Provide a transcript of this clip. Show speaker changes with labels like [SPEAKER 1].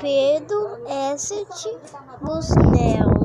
[SPEAKER 1] Pedro S. Busnel